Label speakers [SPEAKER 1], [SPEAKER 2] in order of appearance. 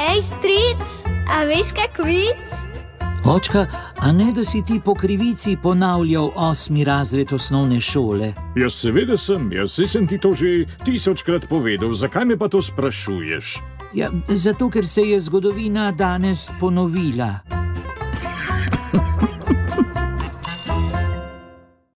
[SPEAKER 1] Ej, stric, a veš kak vic?
[SPEAKER 2] Očka, a ne da si ti po krivici ponavljal osmi razred osnovne šole?
[SPEAKER 3] Jaz seveda sem, jaz saj sem ti to že tisočkrat povedal, zakaj me pa to sprašuješ?
[SPEAKER 2] Ja, zato, ker se je zgodovina danes ponovila.